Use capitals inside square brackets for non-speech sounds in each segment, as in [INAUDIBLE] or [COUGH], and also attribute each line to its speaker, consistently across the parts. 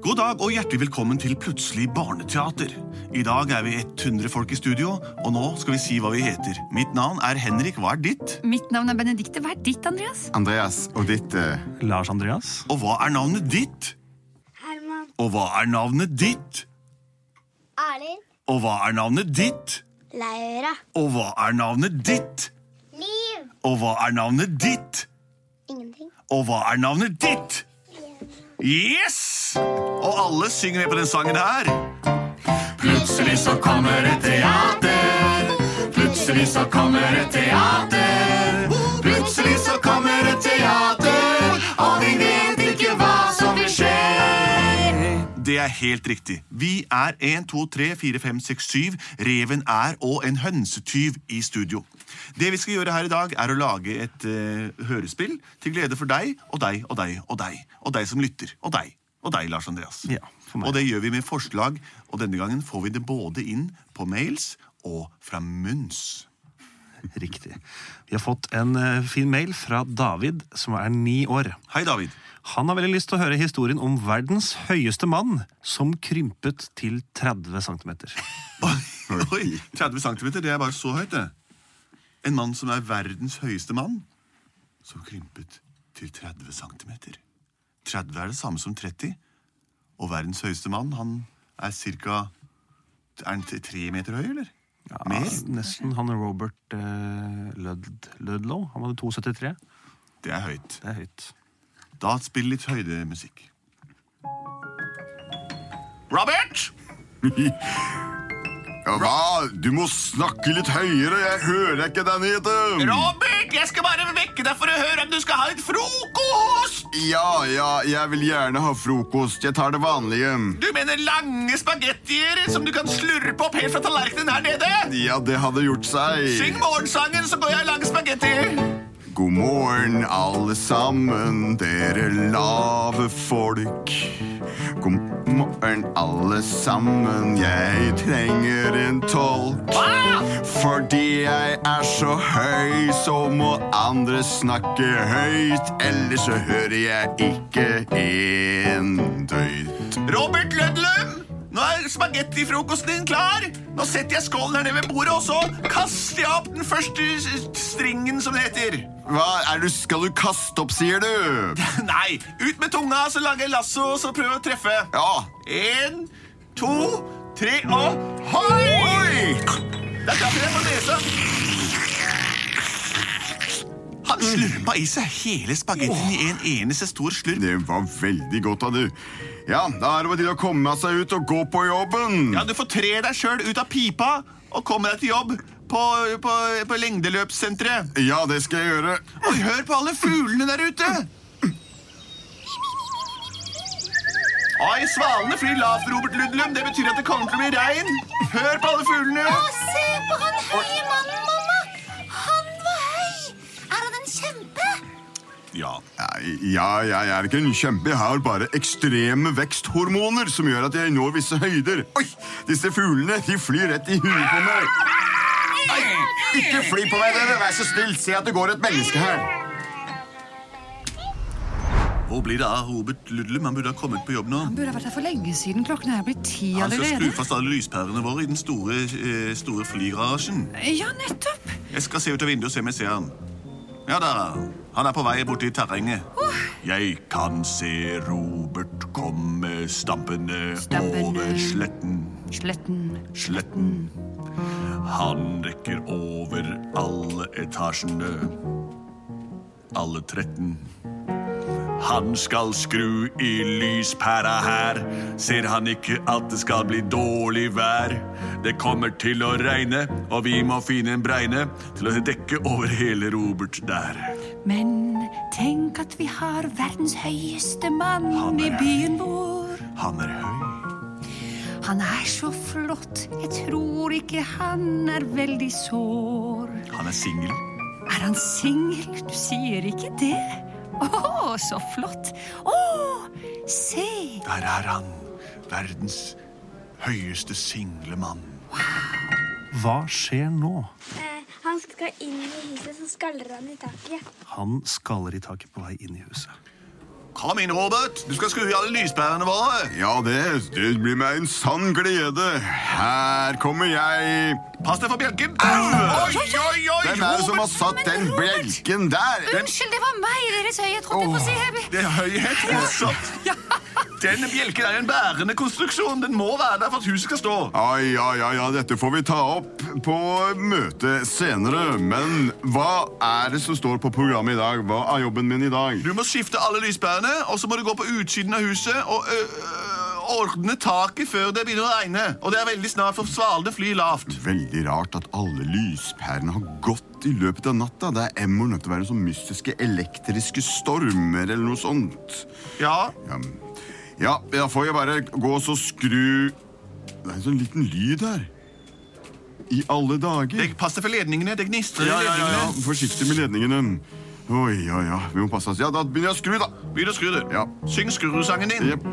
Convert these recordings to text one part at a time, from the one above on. Speaker 1: God dag og hjertelig velkommen til Plutselig barneteater. I dag er vi 100 folk i studio, og nå skal vi si hva vi heter. Mitt navn er Henrik, hva er ditt?
Speaker 2: Mitt navn er Benedikte. Hva er ditt, Andreas?
Speaker 3: Andreas og ditt eh,
Speaker 4: Lars Andreas.
Speaker 1: Og hva er navnet ditt?
Speaker 5: Herman.
Speaker 1: Og hva er navnet ditt?
Speaker 5: Arild.
Speaker 1: Og hva er navnet ditt?
Speaker 5: Laura.
Speaker 1: Og hva er navnet ditt?
Speaker 5: Liv.
Speaker 1: Og hva er navnet ditt?
Speaker 5: Ingenting.
Speaker 1: Og hva er navnet ditt? Yes! Og alle synger med på den sangen her. Plutselig så kommer et teater. Plutselig så kommer et teater. Plutselig så kommer et teater, og vi vet ikke hva som vil skje. Det er helt riktig. Vi er 1, 2, 3, 4, 5, 6, 7. Reven er og en hønsetyv i studio. Det vi skal gjøre her i dag, er å lage et eh, hørespill til glede for deg og deg og deg og deg. Og deg som lytter. Og deg. Og deg, Lars Andreas.
Speaker 4: Ja, for meg.
Speaker 1: Og det gjør vi med forslag, og denne gangen får vi det både inn på mails og fra munns.
Speaker 4: Riktig. Vi har fått en eh, fin mail fra David, som er ni år.
Speaker 1: Hei, David.
Speaker 4: Han har veldig lyst til å høre historien om verdens høyeste mann som krympet til 30 cm.
Speaker 1: Oi, 30 cm, det er bare så høyt, det. En mann som er verdens høyeste mann, som krympet til 30 cm. 30 er det samme som 30, og verdens høyeste mann, han er cirka Er han t- tre meter høy, eller?
Speaker 4: [LAUGHS]
Speaker 1: Mer?
Speaker 4: Nesten han Robert eh, Lud Ludlow. Han hadde 2,73.
Speaker 1: Det er høyt.
Speaker 4: Det er høyt.
Speaker 1: Da spill litt høydemusikk. Robert!
Speaker 3: [LAUGHS] ja, Hva? Du må snakke litt høyere! Jeg hører ikke den hiten!
Speaker 1: Robert, jeg skal bare vekke deg for å høre om du skal ha litt frokost!
Speaker 3: Ja, ja, jeg vil gjerne ha frokost. Jeg tar det vanlige.
Speaker 1: Du mener lange spagettier som du kan slurpe opp helt fra tallerkenen her nede?
Speaker 3: Ja, det hadde gjort
Speaker 1: Syng
Speaker 3: seg.
Speaker 1: morgensangen, så går jeg og lager spagetti.
Speaker 3: God morgen, alle sammen, dere lave folk. God morgen, alle sammen, jeg trenger en tolk. Fordi jeg er så høy, så må andre snakke høyt. Ellers så hører jeg ikke en døyt.
Speaker 1: Robert Lødlum, nå er spagettifrokosten din klar. Nå setter jeg skålen her nede ved bordet, og så kaster jeg opp den første s- stringen, som det heter.
Speaker 3: Hva er du, skal du kaste opp, sier du?
Speaker 1: Nei, ut med tunga, så lager jeg lasso, og så prøver jeg å treffe.
Speaker 3: Ja.
Speaker 1: En, to, tre, og hoi! Der traff jeg på nesa. Han slurpa i seg hele spagettien i en eneste stor slurp.
Speaker 3: Det var veldig godt av du. Ja, da er det bare til å komme seg ut og gå på jobben.
Speaker 1: Ja, du får tre deg sjøl ut av pipa og komme deg til jobb på, på, på lengdeløpssenteret.
Speaker 3: Ja, det skal jeg gjøre.
Speaker 1: Og hør på alle fuglene der ute! Ai, svalene flyr lavt, Robert Ludlum. Det betyr at det kommer til å bli regn. Hør på alle fuglene!
Speaker 6: Se på han høye mannen, mamma! Han var høy! Er han en kjempe?
Speaker 1: Ja.
Speaker 3: Nei, Ja, jeg er ikke en kjempe. Jeg har bare ekstreme veksthormoner som gjør at jeg når visse høyder. Oi, disse fuglene de flyr rett i huet på meg. Nei, ikke fly på meg, dere. Vær så snill. Se at det går et menneske her.
Speaker 1: Hvor blir det av Robert Ludlum? Han burde ha kommet på jobb nå.
Speaker 2: Han burde ha vært her for lenge siden. Klokken er blitt ti
Speaker 1: Han skal skru
Speaker 2: allerede.
Speaker 1: fast alle lyspærene våre i den store, eh, store flygarasjen.
Speaker 2: Eh, Ja, nettopp!
Speaker 1: Jeg skal se ut av vinduet og se om jeg ser han. Ja, der er han. Han er på vei borti terrenget. Jeg kan se Robert komme stampende,
Speaker 2: Stampende.
Speaker 1: over sletten,
Speaker 2: Sletten.
Speaker 1: sletten. Han rekker over alle etasjene, alle 13. Han skal skru i lyspæra her. Ser han ikke at det skal bli dårlig vær? Det kommer til å regne, og vi må finne en bregne til å dekke over hele Robert der.
Speaker 2: Men tenk at vi har verdens høyeste mann
Speaker 1: Han er
Speaker 2: i byen vår.
Speaker 1: Han er høy.
Speaker 2: Han er så flott. Jeg tror ikke han er veldig sår.
Speaker 1: Han er singel.
Speaker 2: Er han singel? Du sier ikke det? Å, så flott. Å, se!
Speaker 1: Der er han. Verdens høyeste single mann.
Speaker 4: Hva skjer nå?
Speaker 5: Eh, han skal inn i huset, så skaller han i taket.
Speaker 4: Han skaller i taket på vei inn i huset.
Speaker 1: Kom inn, Robert. Du skal skru i alle lyspærene våre.
Speaker 3: Ja, det, det blir meg en sann glede. Her kommer jeg.
Speaker 1: Pass deg for bjelken.
Speaker 3: Au!
Speaker 1: Oi, oi, oi!
Speaker 3: Ah! Hvem er det som har satt den bjelken der?
Speaker 6: Unnskyld, det var meg, Deres høye. Jeg trodde jeg på å si
Speaker 1: Robert, Det er høyhet fortsatt. Den bjelken er en bærende konstruksjon. Den må være der for at huset skal stå.
Speaker 3: Ai, ai, ai, ai, dette får vi ta opp på møtet senere. Men hva er det som står på programmet i dag? Hva er jobben min i dag?
Speaker 1: Du må skifte alle lyspærene, og så må du gå på utsiden av huset og ø, ø, ordne taket før det begynner å regne. Og det er veldig snart, for svalene flyr lavt.
Speaker 3: Veldig rart at alle lyspærene har gått i løpet av natta. Det er emmer nødt til å være sånn mystiske elektriske stormer eller noe sånt.
Speaker 1: Ja,
Speaker 3: Ja, men- ja, da får jeg bare gå og så skru Det er en sånn liten lyd her. I alle dager.
Speaker 1: det passer for ledningene. Det gnistrer i
Speaker 3: Ja, ja, ja,
Speaker 1: ledningene.
Speaker 3: ja. Forsiktig med ledningene. Oi, ja, ja. Vi må passe oss. Ja, da begynner jeg å skru, da.
Speaker 1: Begynn å skru, du.
Speaker 3: Ja.
Speaker 1: Syng skrurusangen din.
Speaker 3: Jep.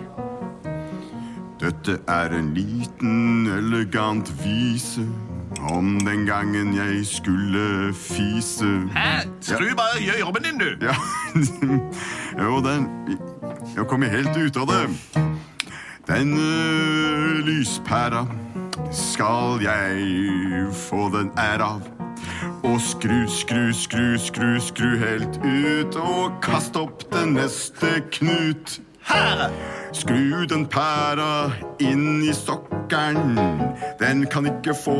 Speaker 3: Dette er en liten, elegant vise om den gangen jeg skulle fise.
Speaker 1: Hæ? Skru bare gjør jobben din, du.
Speaker 3: [LAUGHS] Ja, jo, den Jeg kommer helt ut av det. Den ø, lyspæra skal jeg få den ære av. Og skru, skru, skru, skru, skru helt ut, og kast opp den neste knut. Skru den pæra inn i sokkeren. Den kan ikke få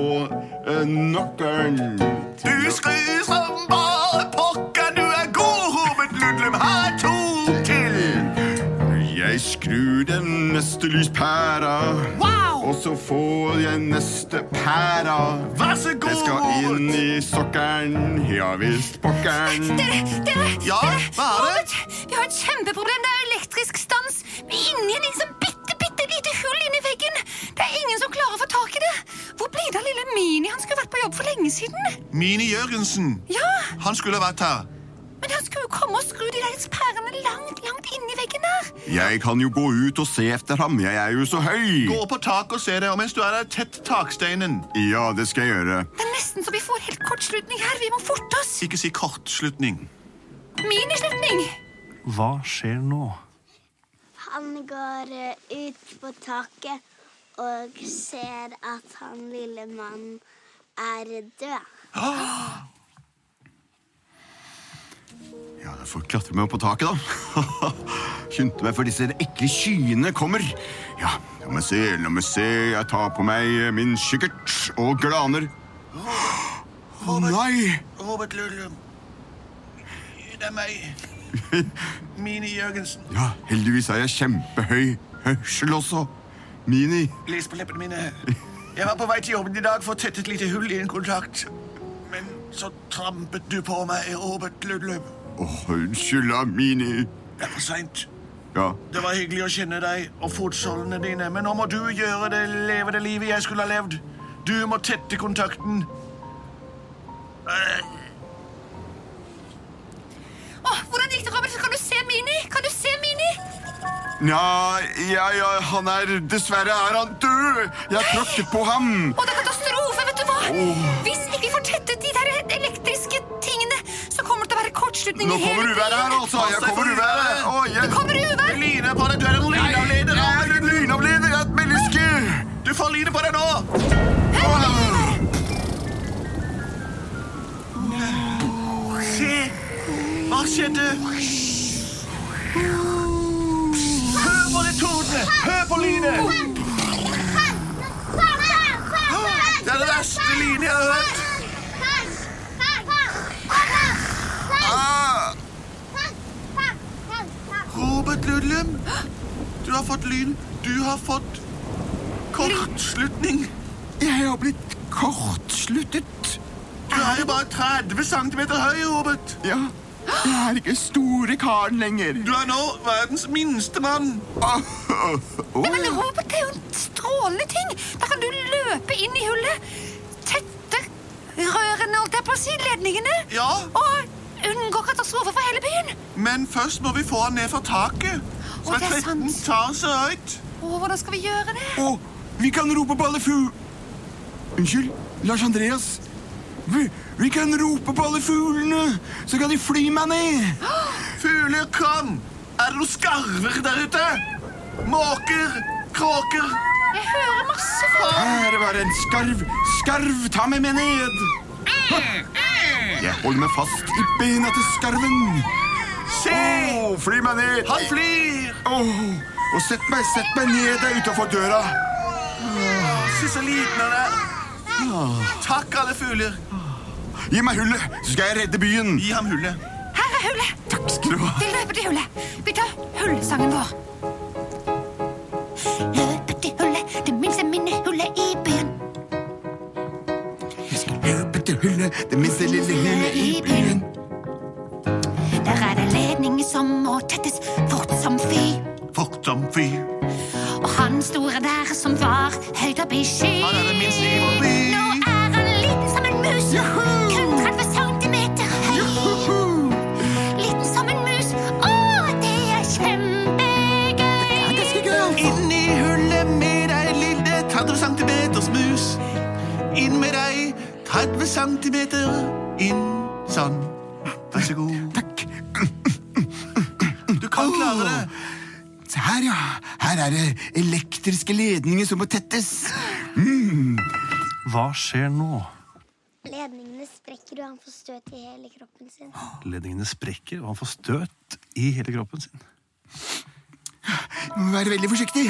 Speaker 3: ø, nokkeren.
Speaker 1: Du skrur som bare pokker. Du er god, Robert Ludlum. Her to til.
Speaker 3: Jeg skrur den neste lyspæra,
Speaker 1: Wow!
Speaker 3: og så får jeg neste pæra.
Speaker 1: Vær så
Speaker 3: Det
Speaker 1: god,
Speaker 3: skal inn
Speaker 1: Robert.
Speaker 3: i sokkeren, ja visst pokkeren.
Speaker 6: Dere, dere,
Speaker 1: Ja,
Speaker 6: dere,
Speaker 1: hva er det?
Speaker 6: Robert, vi har et kjempeproblem. Det er elektrisk stans inni en liksom bitte, bitte lite hull inni veggen. Det er ingen som klarer å få tak i det. Hvor blir det av lille Mini? Han skulle vært på jobb for lenge siden.
Speaker 1: Mini Jørgensen.
Speaker 6: Ja,
Speaker 1: Han skulle ha vært her.
Speaker 6: men han skulle jo komme og skru de der pærene langt, langt inni veggen der.
Speaker 3: Jeg kan jo gå ut og se etter ham, jeg er jo så høy.
Speaker 1: Gå opp på taket og se deg om mens du er der tett taksteinen.
Speaker 3: Ja, det skal jeg gjøre.
Speaker 6: Det er nesten så vi får helt kortslutning her. Vi må forte oss.
Speaker 1: Ikke si kortslutning.
Speaker 6: Minislutning.
Speaker 4: Hva skjer nå?
Speaker 5: Han går eh, ut på taket og ser at han lille mannen er død.
Speaker 3: Ja, jeg får klatre meg opp på taket, da. [LAUGHS] Skyndte meg før disse ekle skyene kommer. Ja, la meg se, la meg se. Jeg tar på meg eh, min kikkert og glaner. Å nei!
Speaker 1: Robert Ludlum. Det er meg. Mini Jørgensen.
Speaker 3: Ja, heldigvis er jeg kjempehøy hørsel også. Mini.
Speaker 1: Les på leppene mine. Jeg var på vei til jobben i dag for å tette et lite hull i en kontakt. Men så trampet du på meg, Robert Ludlum.
Speaker 3: Åh, unnskyld, da, Mini.
Speaker 1: Det er for seint.
Speaker 3: Ja,
Speaker 1: Det var hyggelig å kjenne deg og fotsålene dine, men nå må du gjøre det, leve det livet jeg skulle ha levd. Du må tette kontakten.
Speaker 6: Åh, hvordan gikk det, Robert? Kan du se Mini? Kan du se Mini?
Speaker 3: ja, ja, ja han er Dessverre er han død! Jeg tråkket på ham.
Speaker 6: Å, det er katastrofe, vet du hva? Hvis ikke vi får tettet de der elektriske tingene, så kommer det til å være kortslutning
Speaker 3: Nå
Speaker 6: i
Speaker 3: kommer
Speaker 6: hele
Speaker 3: uværet her, altså.
Speaker 1: Pass
Speaker 3: Jeg
Speaker 1: deg for
Speaker 3: kommer uværet.
Speaker 1: uværet.
Speaker 3: Å, jeg...
Speaker 6: Kommer uvær?
Speaker 1: Line på deg, du er en
Speaker 3: Jeg
Speaker 1: lynavleder.
Speaker 3: er en lynavleder, jeg er et menneske!
Speaker 1: Du får line på deg nå! Se! Hva skjedde? Hør på det tordene! Hør på lynet! Det er den verste lynet jeg har hørt.
Speaker 3: Ah,
Speaker 1: Robert Ludlum, du har fått lyn. Du har fått kortslutning.
Speaker 3: jeg har blitt kortsluttet.
Speaker 1: Du er jo bare 30 cm høy, Robert.
Speaker 3: Ja, jeg er ikke store karen lenger.
Speaker 1: Du er nå verdens minste mann.
Speaker 3: Ah, ah,
Speaker 6: Nei, men
Speaker 3: ah.
Speaker 6: Robert, det er jo en strålende ting. Da kan du løpe inn i hullet, tette rørene, holdt jeg på å si, ledningene,
Speaker 1: Ja,
Speaker 6: og unngå katastrofe for hele byen.
Speaker 1: men først må vi få han ned fra taket. Som
Speaker 6: Å, det
Speaker 1: er
Speaker 6: er
Speaker 1: 13
Speaker 6: sant.
Speaker 1: etasjer høyt.
Speaker 6: Åh, hvordan skal vi gjøre det?
Speaker 3: Å, vi kan rope på alle fugl... Unnskyld, Lars Andreas. Vi, vi kan rope på alle fuglene, så kan de fly meg ned.
Speaker 1: Fugler, kom! Er det noen skarver der ute? Måker? Kråker?
Speaker 6: Jeg hører masse folk.
Speaker 3: Her var en skarv. Skarv, ta meg med ned. Jeg holder meg fast i beina til skarven.
Speaker 1: Se!
Speaker 3: Åh, fly meg ned.
Speaker 1: Han flyr!
Speaker 3: Åh, og sett meg, sett meg ned der utenfor døra.
Speaker 1: Se så liten han er. Takk, alle fugler.
Speaker 3: Gi meg hullet, så skal jeg redde byen.
Speaker 1: Gi ham hullet.
Speaker 6: Her er hullet. Takk skal
Speaker 3: du ha.
Speaker 6: Vi løper til hullet. Vi tar hullsangen vår. Løper til hullet, det minste minnehullet i byen.
Speaker 3: Jeg skal løpe til hullet, det minste lille hullet i byen.
Speaker 6: Der er det ledninger som må tettes fort som fy.
Speaker 1: Fort som fy.
Speaker 6: Og han store der som var høyt opp i sky.
Speaker 1: Han er det minste i vår by.
Speaker 6: Nå er han liten som en mus, kun 30 centimeter høy. Liten som en mus, å, det er kjempegøy.
Speaker 1: Inn i hullet med deg, lille 30 centimeters mus. Inn med deg, 30 centimeter. Inn sånn. Vær så god. Takk. Du kan klare det.
Speaker 3: Se her, ja. Her er det elektriske ledninger som må tettes.
Speaker 4: Hva skjer nå?
Speaker 5: Ledningene sprekker, og han får støt i hele kroppen sin.
Speaker 4: Ledningene sprekker, og han får støt i hele kroppen sin.
Speaker 3: Må være veldig forsiktig.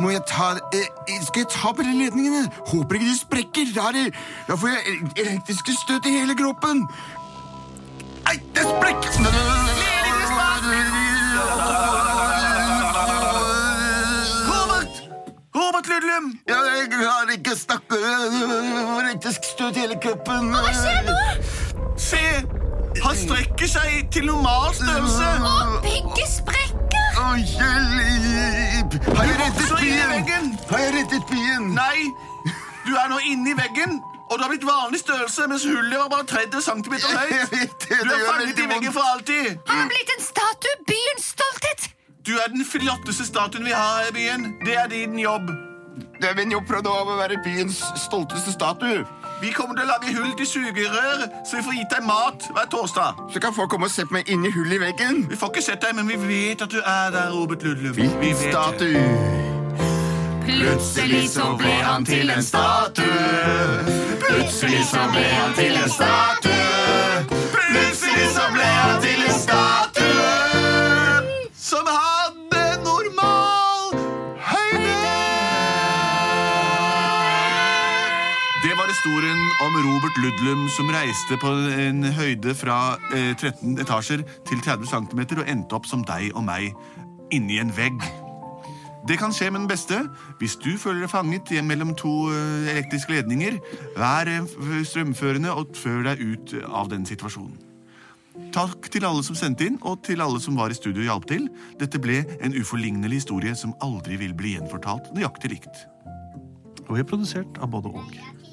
Speaker 3: Må jeg ta eh, Skal jeg ta på de ledningene? Håper ikke de sprekker. Da, er det, da får jeg elektriske støt i hele kroppen. Nei, det sprekk!
Speaker 1: Robert! Robert Ludlum!
Speaker 3: Ja, Jeg klarer ikke å snakke. Elektrisk støt i hele kroppen.
Speaker 6: Hva skjer nå?
Speaker 1: Se! Han strekker seg til normal størrelse.
Speaker 6: Å, Piggy sprekker.
Speaker 3: Å, hjelp! Har jeg reddet
Speaker 1: Så inn i
Speaker 3: byen?
Speaker 1: veggen!
Speaker 3: Har jeg reddet byen?
Speaker 1: Nei, du er nå inni veggen. Og du har blitt vanlig størrelse, mens hullet var bare 30 cm
Speaker 3: Jeg
Speaker 1: høyt.
Speaker 3: vet [LAUGHS]
Speaker 1: Du er
Speaker 3: det, det gjør
Speaker 1: fanget
Speaker 3: veldig
Speaker 1: i veggen
Speaker 3: vondt.
Speaker 1: for alltid.
Speaker 6: Han har blitt en statue, byens stolthet.
Speaker 1: Du er den flotteste statuen vi har her i byen. Det er din jobb.
Speaker 3: Det er min jobb fra nå av å være byens stolteste statue.
Speaker 1: Vi kommer til å lage hull til sugerør, så vi får gitt deg mat hver torsdag.
Speaker 3: Så kan folk komme og se på meg inni hullet i veggen.
Speaker 1: Vi får ikke sett deg, men vi vet at du er der, Robert Ludlum. Vi
Speaker 3: Hvilken
Speaker 1: vet det.
Speaker 3: statue?
Speaker 1: Plutselig så ble han til en statue. Plutselig så ble han til en statue. Plutselig så ble han til en statue som hadde normal høyde. Det var historien om Robert Ludlum som reiste på en høyde fra eh, 13 etasjer til 30 cm og endte opp som deg og meg inni en vegg. Det kan skje med den beste. Hvis du føler deg fanget i- mellom to eh, elektriske ledninger, vær eh, f- strømførende og før deg ut eh, av den situasjonen. Takk til alle som sendte inn, og til alle som var i studio og hjalp til. Dette ble en uforlignelig historie som aldri vil bli gjenfortalt nøyaktig likt.
Speaker 4: Og vi er produsert av både og.